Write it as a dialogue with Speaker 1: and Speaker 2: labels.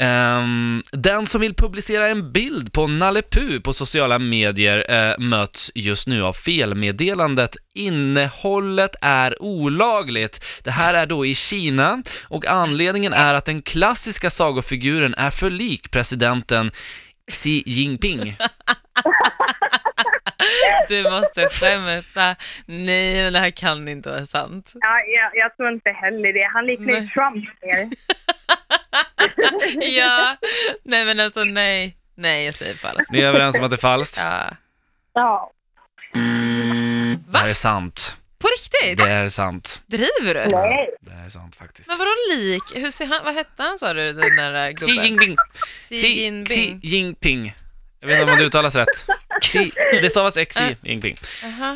Speaker 1: Ehm, den som vill publicera en bild på Nalle Puh på sociala medier eh, möts just nu av felmeddelandet “Innehållet är olagligt”. Det här är då i Kina och anledningen är att den klassiska sagofiguren är för lik presidenten Xi Jinping.
Speaker 2: Du måste skämta. Nej, men det här kan inte vara sant.
Speaker 3: Ja, jag, jag tror inte heller det. Han liknar ju
Speaker 2: Nej.
Speaker 3: Trump mer.
Speaker 2: Ja, nej men alltså nej. Nej, jag säger falskt.
Speaker 1: Ni är överens om att det är falskt?
Speaker 2: Ja.
Speaker 3: Ja.
Speaker 1: Det här är sant.
Speaker 2: På riktigt?
Speaker 1: Det är sant.
Speaker 2: Driver du?
Speaker 3: Nej.
Speaker 1: Det här är sant faktiskt.
Speaker 2: Men vadå lik? Hur ser han, vad hette han sa du, den där eh,
Speaker 1: Xi
Speaker 2: gubben?
Speaker 1: Jinping.
Speaker 2: Xi Jinping. Eh.
Speaker 1: Xi Jinping. Jag vet inte om det uttalas rätt. Xi. Det stavas XI Jinping.
Speaker 2: Aha.